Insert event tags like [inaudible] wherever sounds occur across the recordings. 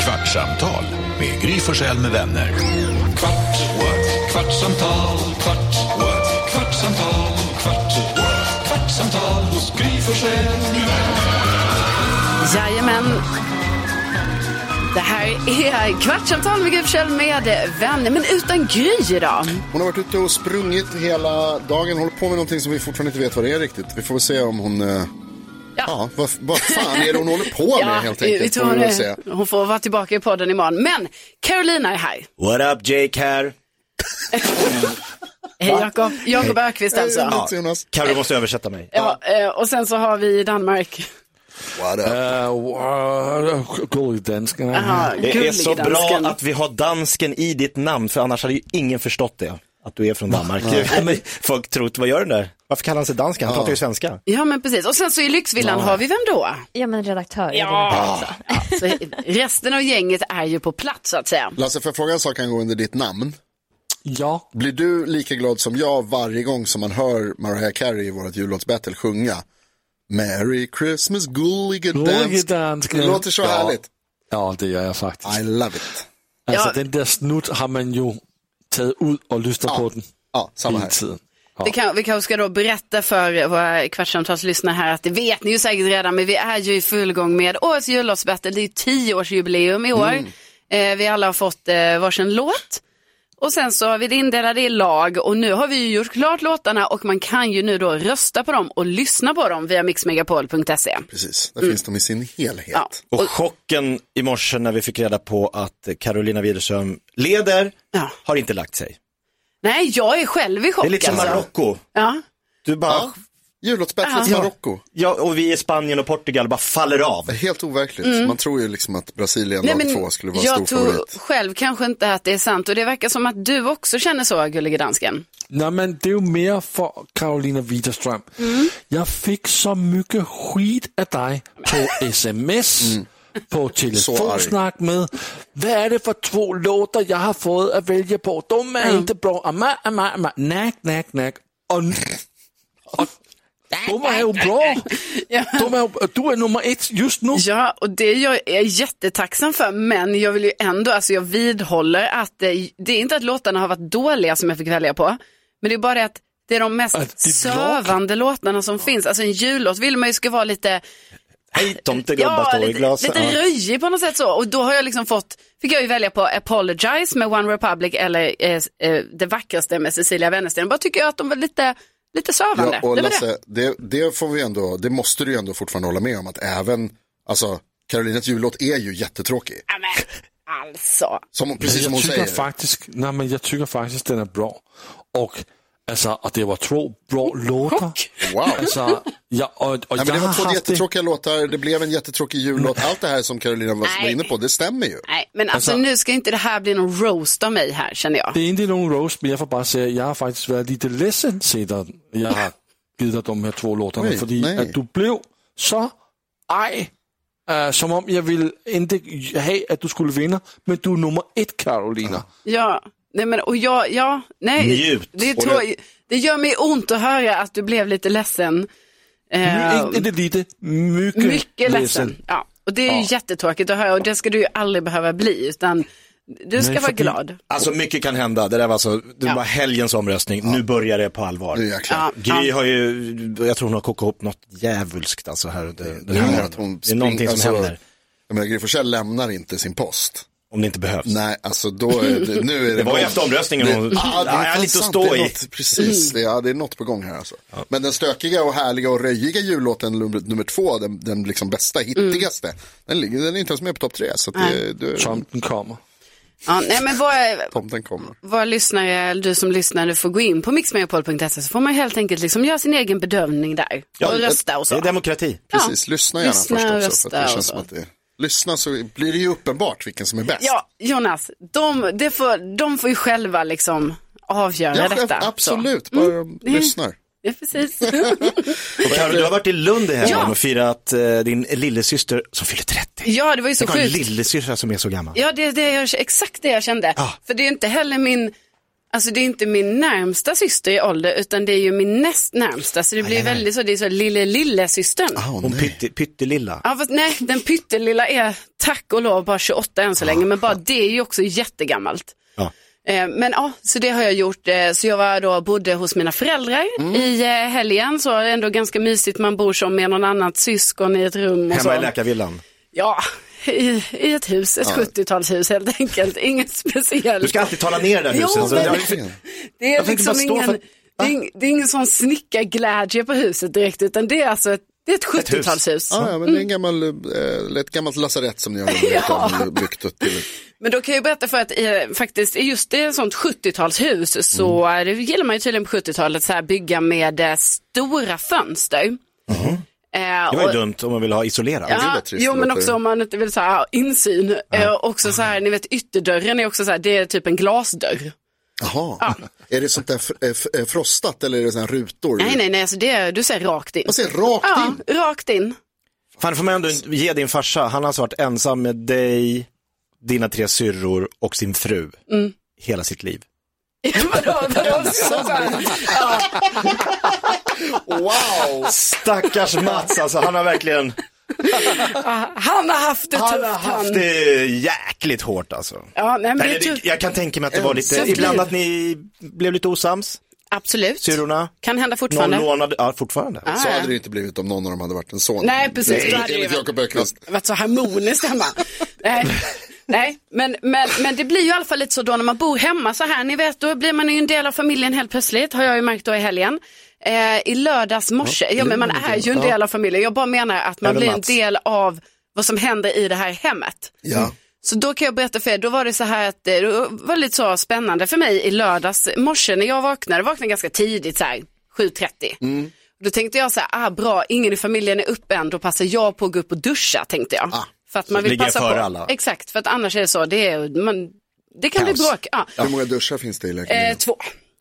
kvartsamtal med Gry Forssell med vänner. Kvart, what? kvartsamtal, kvart, what? kvartsamtal, kvart, what? kvartsamtal hos Gry Forssell med vänner. Jajamän. Det här är Kvartsamtal med Gry Forssell med vänner, men utan Gry idag. Hon har varit ute och sprungit hela dagen, håller på med någonting som vi fortfarande inte vet vad det är riktigt. Vi får väl se om hon... eh, Ja, vad, vad fan är det hon håller på med helt enkelt? vi får tror vi väl hon, se. hon får vara tillbaka i podden imorgon. Men Carolina är här. What up Jake här? Hej Jakob. Jakob Ökvist alltså. Hej, Ja. Mats Jonas. Carro måste översätta mig. eh, och sen så har vi Danmark. What up? Eh, wow, Gullig dansken. Aha, Det är gullig så bra dansken. att vi har dansken i ditt namn, för annars hade ju ingen förstått det. Att du är från Danmark. [laughs] Men Folk trott, vad gör den där? Varför kallar han sig dansken? Han pratar ju svenska. Ja men precis, och sen så i Lyxvillan har vi vem då? Ja men redaktör. Ja. Så resten av gänget är ju på plats så att säga. Lasse, får jag fråga en sak angående under ditt namn? Ja. Blir du lika glad som jag varje gång som man hör Mariah Carey i vårt jullåtsbattle sjunga Merry Christmas gullige Gullige dansk. dansken. Det låter så Ja. härligt. ja, det gör jag faktiskt. I love it. Alltså Ja. den där snutt har man ju tagit ut och lyssnat på den Ja, samma hela här. tiden. Vi, kan, vi kanske ska då berätta för våra kvartsamtalslyssnare här att det vet ni ju säkert redan, men vi är ju i full gång med årets jullåtsbattle. Det är ju tioårsjubileum i år. Eh, vi alla har fått eh, varsin låt. Och sen så har vi det indelade i lag och nu har vi ju gjort klart låtarna och man kan ju nu då rösta på dem och lyssna på dem via mixmegapol.se. Precis, där finns de i sin helhet. Ja. Och chocken i morse när vi fick reda på att Carolina Widerström leder, Ja. har inte lagt sig. Nej, jag är själv i chock Det är lite som alltså. Marocko. Ja. Du bara, Jullåtsbattlet Ja. Marocko. ja, och vi i Spanien och Portugal bara faller av. Helt overkligt. Man tror ju liksom att Brasilien Mm. Nej, lag men två skulle vara jag stor tror favorit. själv kanske inte att det är sant och det verkar som att du också känner så, gullige dansken. Nej men det är ju mer för Karolina Widerström. Jag fick så mycket skit av dig på sms, på telefonsnack med. Vad är det för två låtar jag har fått att välja på? De är inte bra. Amma, amma, amma. Nack, nack, nack. Och, och, de är ju bra. De är, ju- du är nummer ett just nu. Ja, och det är jag är jättetacksam för, men jag vill ju ändå, alltså jag vidhåller att eh, det är inte att låtarna har varit dåliga som jag fick välja på, men det är bara det att det är de mest Att det är sövande låtarna som finns. Alltså en jullåt vill man ju ska vara lite, Hej tomtegubbar ja, står i lite, glasen. lite röjig på något sätt så. Och då har jag liksom fått, fick jag ju välja på Apologize med One Republic eller eh, eh, Det vackraste med Cecilia Wennersten. Bara tycker jag att de var lite, lite sövande. Ja, och det var det. Lasse, det, det får vi ändå, det måste du ju ändå fortfarande hålla med om att även, alltså Karolinas jullåt är ju jättetråkig. Ja, men, alltså. Som, hon- Men precis som hon jag tycker säger. faktiskt, nej men jag tycker faktiskt den är bra. Och alltså, att det var två bra låtar. Wow. Alltså, ja, och, och Nej, jag men det har var två haft det. jättetråkiga låtar, det blev en jättetråkig jullåt. Allt det här som Karolina var, var Nej. inne på, det stämmer ju. Nej, men alltså, nu ska inte det här bli någon roast av mig här känner jag. Det är inte någon roast, men jag får bara säga, jag har faktiskt varit lite ledsen sedan jag har givit dig de här två låtarna. Oj, För nej. att du blev så arg, äh, som om jag ville inte ha att du skulle vinna, men du är nummer ett Carolina. Ja, nej men och jag, ja, nej. Njut. Det, är Och tro- det gör mig ont att höra att du blev lite ledsen. Eh, Inte, inte lite, mycket, mycket ledsen. Ja, och det är ju jättetråkigt att höra och det ska du ju aldrig behöva bli, utan du ska Nej, vara för det- glad. Alltså mycket kan hända. Det där var, alltså, det Ja. var helgens omröstning. Nu börjar det på allvar. Nu jäklar. Ja. Gry har ju, jag tror hon har kokat ihop något djävulskt alltså här. Det, det, Jag menar här att hon det är någonting som springer- alltså, händer, Jag menar, Gry Forssell lämnar inte sin post. om det inte behövs. Nej, alltså då är det, nu är det... [laughs] Det var ju någon- efter omröstningen hon- ah, det Ja, är jag har fan lite att sant. stå det är i. något, Precis, det, ja, det är något på gång här alltså. Men den stökiga och härliga och röjiga jullåten nummer, nummer två, den, den liksom bästa, hittigaste, Mm. den, ligger, den är inte ens med på topp tre. Så att det, det, Tomten kommer. Ja, nej men våra, tomten kommer. våra lyssnare, eller du som lyssnar, du får gå in på mixmegapol.se så får man helt enkelt liksom göra sin egen bedömning där Ja, och rösta och alltså- Det är så. demokrati. Precis, lyssna gärna Lyssna, först också. rösta För att det och känns så. som att det, lyssna så blir det ju uppenbart vilken som är bäst. Ja, Jonas, de, det får, de får ju själva liksom avgöra Ja, detta. så. Mm. absolut, bara de lyssnar. [laughs] Ja, precis. Och Karo, du har varit i Lund i helgen Ja. och firat eh, din lillasyster som fyller 30. ja, det var ju så Tänk att ha en sjukt. lillasyrra som är så gammal. Ja, det är det jag, exakt det jag kände. Ja. För det är inte heller min Alltså det är inte min närmsta syster i ålder utan det är ju min näst närmsta så det blir väldigt så, det är så lille lille systern. Åh, Ah, Hon nej. pytte, pyttelilla. Ja, fast nej, den pyttelilla är tack och lov bara 28 än så Ah, länge, men bara det är ju också jättegammalt. Ja. Eh, Men ja, så det har jag gjort. Eh, Så jag var då, bodde hos mina föräldrar Mm. i eh, helgen, så ändå ganska mysigt. Man bor som med någon annat syskon i ett rum. Alltså- Och så. Hemma i läkarvillan. Ja, i, i ett hus, ett 70-talshus helt enkelt. Inget speciellt. Du ska alltid tala ner det här Jo, huset. så- men- Ja, Det är Jag tänkte liksom bara stå ingen, för- det är, ing- det är ingen sån snickarglädje på huset direkt, utan det är alltså ett, det är ett 70-talshus. Ja, ja, men det är Mm. en gammal, eh, ett gammalt lasarett som ni [laughs] har ja. byggt upp till. Men då kan jag berätta för att eh, faktiskt just i ett sånt 70-talshus så Mm. eh, det gillar man ju tydligen på 70-talet så här bygga med eh, stora fönster. Eh, Mm-hmm. Det var ju och- dumt om man vill ha isolerat. är Ja, rätt trist, jo det men låter också ju. om man inte vill så här, ha insyn. Eh, Mm-hmm. också så här, ni vet ytterdörren är också så här, det är typ en glasdörr. Jaha, är det sånt där f- eh, f- eh, frostat eller är det sådana rutor? Nej nej nej, alltså det är, du ser rakt in. Jag ser rakt ja, in. rakt in. Fan, det får man ändå inte ge din farsa, han har alltså varit ensam med dig, dina tre syrror och sin fru Mm. hela sitt liv. Vadå, [laughs] vadå, så här? Wow! Stackars Mats, alltså han har verkligen, han har haft det han tufft har haft han. det jäkligt hårt alltså. Ja, nej, men det Eller, är tufft. det, jag kan tänka mig att det var lite, Tufft ibland liv. att ni blev lite osams, Absolut. syrrorna. Kan hända Någon fortfarande. lånade, ja fortfarande. Ah, Så ja. hade det ju inte blivit om någon av dem hade varit en son. Nej, precis. Då hade det Enligt ju- Jakob Öqvist. varit så harmoniskt hemma. [laughs] Nej, nej. Men, men, men det blir ju i alla fall lite så då när man bor hemma så här, ni vet då blir man ju en del av familjen helt plötsligt, har jag ju märkt då i helgen. Eh, I lördags morse, ja men man är ju en del av familjen, jag bara menar att man Även blir en Mats. del av vad som händer i det här hemmet. Ja. Så då kan jag berätta för er, då var det så här att eh, det var lite så spännande för mig i lördags morse när jag vaknade, vaknade ganska tidigt så här 7.30. Mm. Då tänkte jag så här, ah, bra, ingen i familjen är uppe än, då passar jag på att gå upp och duscha tänkte jag. för att man vill Ah, ligger passa före på. alla. Exakt, för att annars är det så, det, är, man, det kan bli bråk. Ja. Hur många duschar finns det i lägenheten? Eh, två.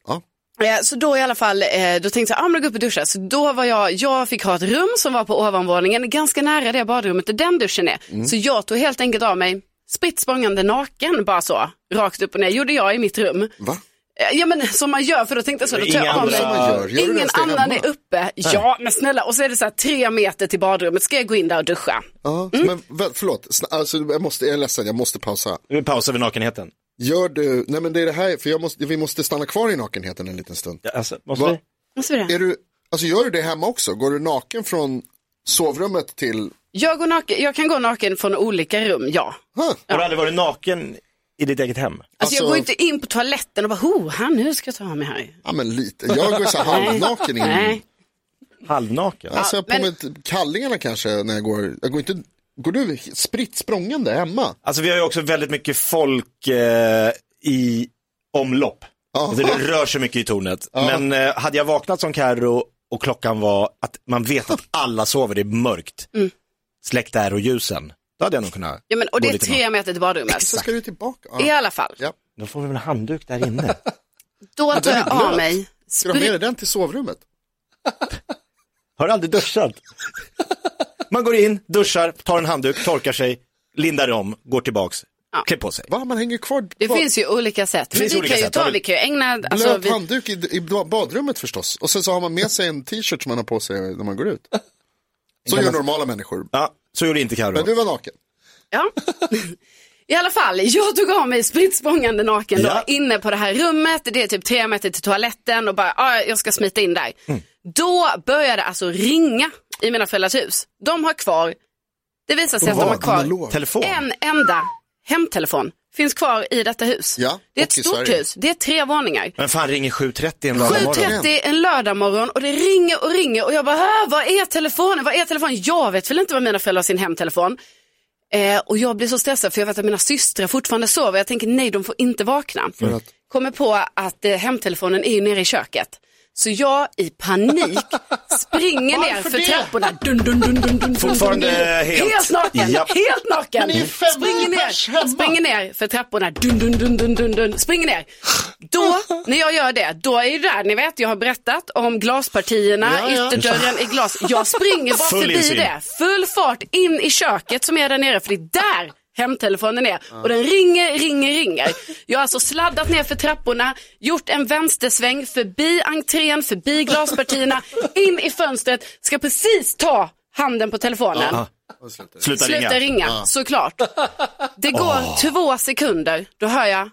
Ja. Eh, Så då i alla fall, eh, då tänkte jag, ah, men då går jag upp och duschar. Så då var jag, jag fick ha ett rum som var på ovanvåningen, ganska nära det badrummet där den duschen är. Mm. Så jag tog helt enkelt av mig spritt språngande naken, bara så, rakt upp och ner, gjorde jag i mitt rum. Va? Eh, Ja men som man gör, för då tänkte jag så, då tar Inga jag av mig. andra- Gör du det Ingen ens det annan hemma? är uppe. Ja, men snälla, och så är det så här tre meter till badrummet, ska jag gå in där och duscha? Ja, Mm. men vä- förlåt, Sna- alltså, jag, måste, jag är ledsen, jag måste pausa. Nu pausar vi nakenheten. Gör du, nej men det är det här, för jag måste, vi måste stanna kvar i nakenheten en liten stund. Alltså, måste Va? vi? Måste vi det? Är du, alltså gör du det hemma också? Går du naken från sovrummet till, Jag, går naken, jag kan gå naken från olika rum, ja. Alltså, huh? Har du aldrig varit naken i ditt eget hem? jag Alltså- går inte in på toaletten och bara, ho, här, nu ska jag ta av mig här. Ja men lite, jag går så här halvnaken in. Nej. Halvnaken? Alltså Ja, jag har på mig t- kallingarna kanske när jag går, jag går inte, går du spritt språngande hemma? Alltså vi har ju också väldigt mycket folk eh, i omlopp. Alltså, det rör sig mycket i tornet. Men eh, hade jag vaknat som Carro och klockan var att man vet att alla sover, det [laughs] är mörkt. Släck där och ljusen. Då hade jag nog kunnat. Mm. Ja, men, och det gå är lite tre meter till badrummet. Så ska du tillbaka. I Ja. alla fall, Ja. Då får vi väl en handduk där inne. då tar den är jag av blöt. mig. Ska du ha med Spri- dig den till sovrummet? har du [laughs] aldrig duschat? Man går in, duschar, tar en handduk, torkar sig, lindar om, går tillbaks, klär på sig. Va, man hänger kvar? det kvar- finns ju olika sätt. Men finns vi olika kan ju sätt. ta, Har du- vi kan ju ägna, Blöt alltså, vi, handduk i, i badrummet förstås. Och sen så har man med sig en t-shirt som man har på sig när man går [laughs] ut. Så gör normala människor. Ja, så gjorde inte Carro. Men du var naken. ja. [laughs] I alla fall, jag tog av mig spritt språngande naken då, Ja. inne på det här rummet. Det är typ tre meter till toaletten och bara, ah, jag ska smita in där. Då började det alltså ringa i mina föräldrars hus. De har kvar, det visar sig att de har kvar analog. Telefon. en enda hemtelefon. Finns kvar i detta hus. Ja, det är ett och i stort Sverige. hus, det är tre våningar. Men fan ringer 7.30 en lördagmorgon. 7.30 en lördagmorgon och det ringer och ringer och jag bara, "Hä, vad är telefonen? Vad är telefonen? Jag vet väl inte vad mina föräldrar har sin hemtelefon. Eh, och jag blir så stressad för jag vet att mina systrar fortfarande sover. Jag tänker nej, de får inte vakna. Kommer på att eh, hemtelefonen är ju nere i köket. Så jag i [laughs] panik springer ner för trapporna. Dun, dun, dun, dun, dun, Fortfarande dun, dun. helt. Helt naken, Japp. helt naken. Men ni är fem Springer pers ner, hemma. springer ner för trapporna. Dun, dun, dun, dun, dun, dun. Springer ner. Då, när jag gör det, då är ju där, ni vet, jag har berättat om glaspartierna, Ja, ja. ytterdörren i glas. Jag springer bara Full förbi insyn. det, full fart in i köket som är där nere, för det är där hemtelefonen är. Och den ringer, ringer, ringer. Jag har alltså sladdat ner för trapporna, gjort en vänstersväng förbi entrén, förbi glaspartierna, in i fönstret, ska precis ta handen på telefonen. Sluta, Sluta ringa. ringa, såklart. Det går två sekunder, då hör jag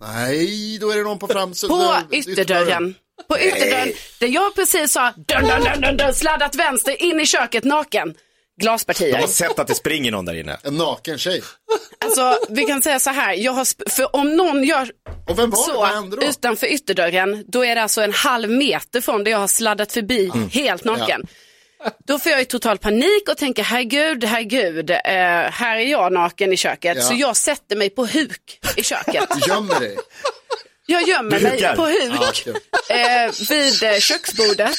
Nej, då är det någon på framsidan. på ytterdörren. På ytterdörren, där jag precis sa dun, dun, dun, dun, dun, sladdat vänster in i köket naken. Jag har Glaspartier. sett att det springer någon där inne. En naken tjej. Alltså, vi kan säga så här, jag har sp- för om någon gör Och vem var det? Vad så hände då? utanför ytterdörren, då är det alltså en halv meter från där jag har sladdat förbi Mm. helt naken. Då får jag ju total panik och tänker herregud, herregud, eh, här är jag naken i köket. Ja. Så jag sätter mig på huk i köket. [laughs] Gömmer dig. Jag gömmer Du mig hukar? på huk eh, vid eh, köksbordet.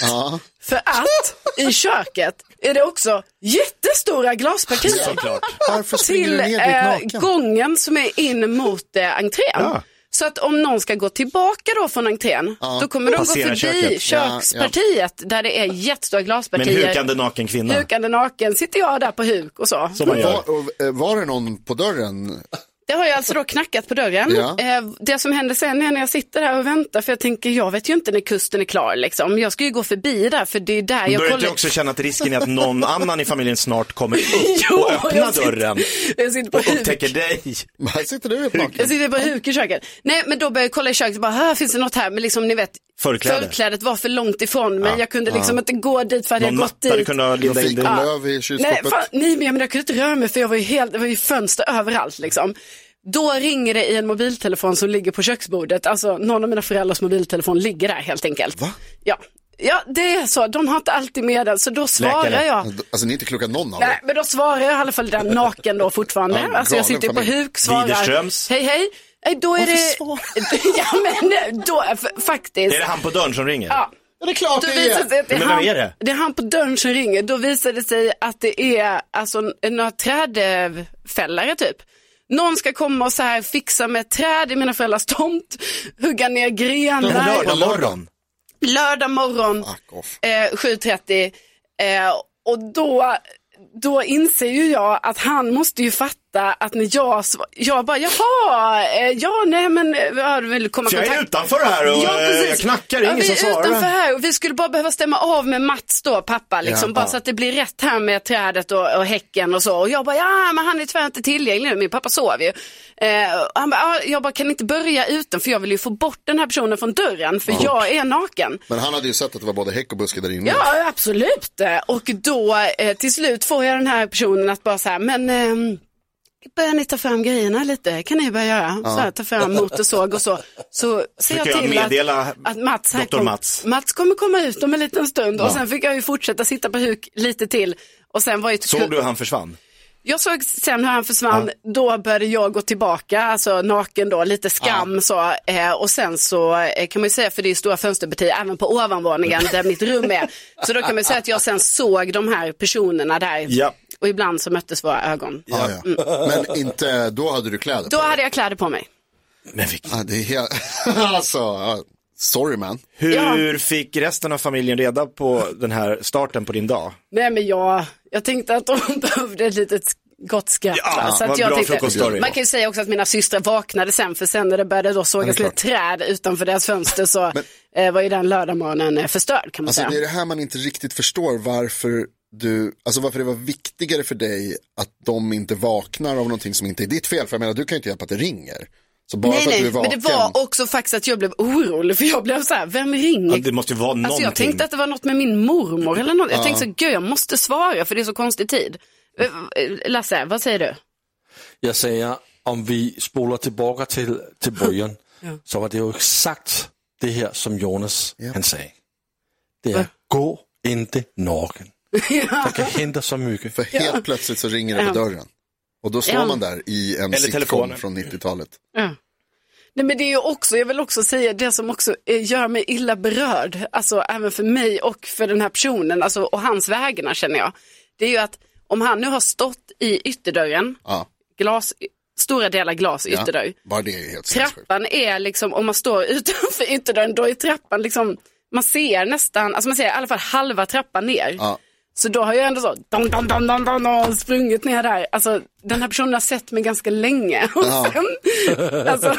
För att i köket är det också jättestora glaspartier [laughs] Såklart. Varför springer till du ner dit eh, naken? gången som är in mot eh, entrén. Så att om någon ska gå tillbaka då från entrén, då kommer de gå Passera förbi köket. kökspartiet där det är jättestora Men glaspartier. hukande naken kvinna. Hukande naken sitter jag där på huk och så. Som man gör. Var, och, eh, var det någon på dörren? Det har jag alltså då knackat på dörren. Ja. Eh, Det som händer sen är när jag sitter här och väntar, för jag tänker jag vet ju inte när kusten är klar liksom. Jag ska ju gå förbi där, för det är där jag Börjar inte kollar. också känna att risken är att någon annan i familjen snart kommer upp [laughs] Jo, och öppnar jag sitter- [laughs] dörren Jag sitter på och huk. upptäcker dig? Här sitter du helt naken. Jag sitter på huk i köket. Nej, men då började jag kolla i köket och bara, här finns det något här? Men liksom ni vet, Förkläde. förklädet var för långt ifrån mig. jag kunde liksom inte gå dit för hade Någon jag gått matta du dit. kunde ha lindat in dig i? Fikonlöv i Nej, kylskåpet. fan, nej, men jag kunde inte röra mig för jag var ju helt, det var ju fönster överallt liksom. Då ringer det i en mobiltelefon som ligger på köksbordet. Alltså någon av mina föräldrars mobiltelefon ligger där helt enkelt. Va? Ja. ja, det är så. De har inte alltid med den så då svarar Läkare. jag. Alltså ni är inte kloka någon av Nej, er. men då svarar jag i alla fall den naken då fortfarande. Ja, alltså jag galen sitter ju på familj. huk, svarar. Widerströms. Hej, hej. Eh, Då är det... [laughs] ja, men nu, då, f- faktiskt. Är det han på dörren som ringer? Ja. Ja, det är klart Då det visar det är. sig att det är, Men vem han, är det? är han på dörren som ringer. Då visar det sig att det är alltså, några trädfällare typ. Någon ska komma och så här fixa med träd i mina föräldrars tomt, [laughs] hugga ner På grenar. lördag morgon? Lördag morgon Fuck off. eh, 7.30 eh, och då, då inser ju jag att han måste ju fatta att när jag svar- jag bara jaha, eh, ja nej men eh, ja, du vill komma i Så jag är kontakt. utanför här och eh, precis. jag knackar, det är ingen ja, som vi är utanför svarar. här och vi skulle bara behöva stämma av med Mats då, pappa, liksom, bara så att det blir rätt här med trädet och, och häcken och så. Och jag bara, ja men han är tyvärr inte tillgänglig nu, min pappa sov ju. Eh, och han bara, ja, jag bara, kan inte börja utan för jag vill ju få bort den här personen från dörren för jag är naken. Men han hade ju sett att det var både häck och buske där Mm. inne. Ja, absolut. Och då eh, till slut får jag den här personen att bara så här, men ehm, börjar ni ta fram grejerna lite? Kan ni börja göra? Så här, ta fram motorsåg och så. Så ser jag Försöker jag till meddela att, att Mats, här doktor kom, Mats. Mats kommer komma ut om en liten stund. Och sen fick jag ju fortsätta sitta på huk lite till. Och sen var ju Såg du hur han försvann? jag såg sen hur han försvann, då började jag gå tillbaka, alltså naken då, lite skam så. Eh, och sen så eh, kan man ju säga, för det är ju stora fönsterpartier även på ovanvåningen där mitt rum är. Så då kan man ju säga att jag sen såg de här personerna där. Ja. Och ibland så möttes våra ögon. Ja, ja. Men inte, då hade du kläder Då på hade jag kläder på mig. Men vilken... Ja, det är helt... [laughs] alltså, ja. sorry man. Hur fick resten av familjen reda på den här starten på din dag? Nej men jag, jag tänkte att de [laughs] behövde ett litet gott skratt. Ja, va? så att vad jag bra tänkte, frukoststory. man kan ju säga också att mina systrar vaknade sen för sen när det började då sågas ner träd utanför deras fönster så eh, var ju den lördagmorgonen eh, förstörd kan man Alltså säga. det är det här man inte riktigt förstår varför du, alltså varför det var viktigare för dig att de inte vaknar av någonting som inte är ditt fel. För jag menar, du kan ju inte hjälpa att det ringer. Så bara Nej, för att du nej, är vaken. men det var också faktiskt att jag blev orolig för jag blev så här, vem ringer? Ja, det måste ju vara någonting. alltså jag tänkte att det var något med min mormor eller något. Jag tänkte så, gud jag måste svara för det är så konstig tid. Eh, eh, Lasse, vad säger du? Jag säger, om vi spolar tillbaka till, till början, så var det ju exakt det här som Jonas han sa. Det är, gå inte naken. Det kan hända så mycket. För helt plötsligt så ringer det på dörren. Och då står Ja. man där i en sitcom telefonen. från 90-talet. Nej men det är ju också, jag vill också säga det som också eh, gör mig illa berörd, alltså även för mig och för den här personen, alltså och hans vägnar känner jag. Det är ju att om han nu har stått i ytterdörren, Ja, glas, stora delar glas i ja. ytterdörr, Bara det är helt sinnessjukt. Trappan är liksom, om man står utanför [laughs] ytterdörren, då är trappan liksom, man ser nästan, alltså man ser i alla fall halva trappan ner. Ja. Så då har jag ändå så dom, dom, dom, dom, dom, dom, sprungit ner där. Alltså, den här personen har sett mig ganska länge. [laughs] Och sen, alltså,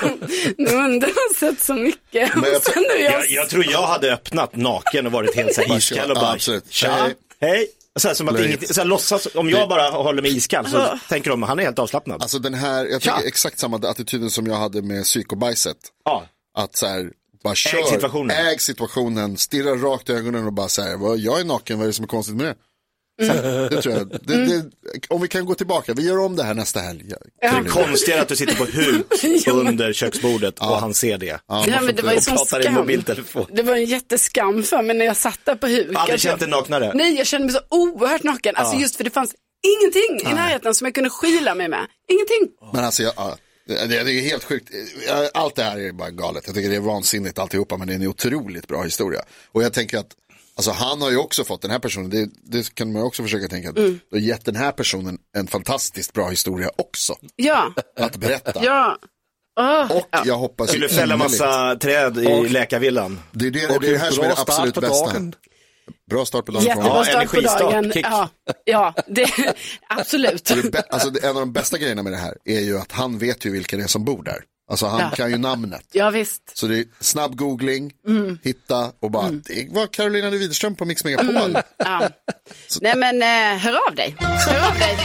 nu har den har sett så mycket. Men jag och sen nu är jag, Jag, jag tror jag hade öppnat naken och varit helt så här Bara iskall kör. och bara, Ja, absolut. tja, Hej. hej. Så här, som att Löjligt. inget, så här, låtsas, om jag bara håller mig iskall så tänker de, han är helt avslappnad. Alltså den här, jag Tja. tycker exakt samma attityden som jag hade med psykobajset. ja. Att så här, bara kör. situationen. Äg situationen, stirra rakt i ögonen och bara så här, "Vad, jag är naken, vad är det som är konstigt med det? Mm. Det tror jag. Det, det, om vi kan gå tillbaka, vi gör om det här nästa helg. Ja, Det kul. är konstigare att du sitter [laughs] på huk under köksbordet och han ser det. nej, men det var ju Och sån pratar i skam. mobiltelefon. Det var en jätteskam för mig när jag satt där på huk. Aldrig Alltså, känt dig naknare. Nej, jag kände mig så oerhört naken. Alltså just för det fanns ingenting i närheten som jag kunde skyla mig med. Ingenting. Men alltså, jag, ja, det, det är helt sjukt. Ja, Allt det här är bara galet. Jag tycker det är vansinnigt alltihopa, men det är en otroligt bra historia. Och jag tänker att, alltså han har ju också fått, den här personen, det, det kan man ju också försöka tänka, att Mm. du har gett den här personen en fantastiskt bra historia också. Ja, Att berätta. ja. Åh, Och ja. jag hoppas ju Skulle fälla innerligt- massa träd i läkarvillan. Det är det, det, är det här som är det absolut bästa. Bra start på dagen. för honom. Jättebra Ja, start på energistart, dagen. kick. Ja, ja det, [laughs] absolut. Det bä- Alltså, det- en av de bästa grejerna med det här är ju att han vet ju vilka det är som bor där. Alltså han Ja. kan ju namnet. Ja, visst. Så det är snabb googling, hitta och bara, det var Carolina de Widerström på Mix Megapol. Ja. Nej men eh, hör av dig. Hör av dig.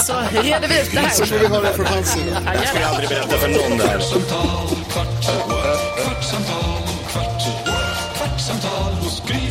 [laughs] Så reder vi ut det Så får här. vi höra från hans sida. Ja, gör Jag det. har aldrig berättat för någon det här. Kvartsamtal, kvart, kvartsamtal, kvart, kvartsamtal hos Gry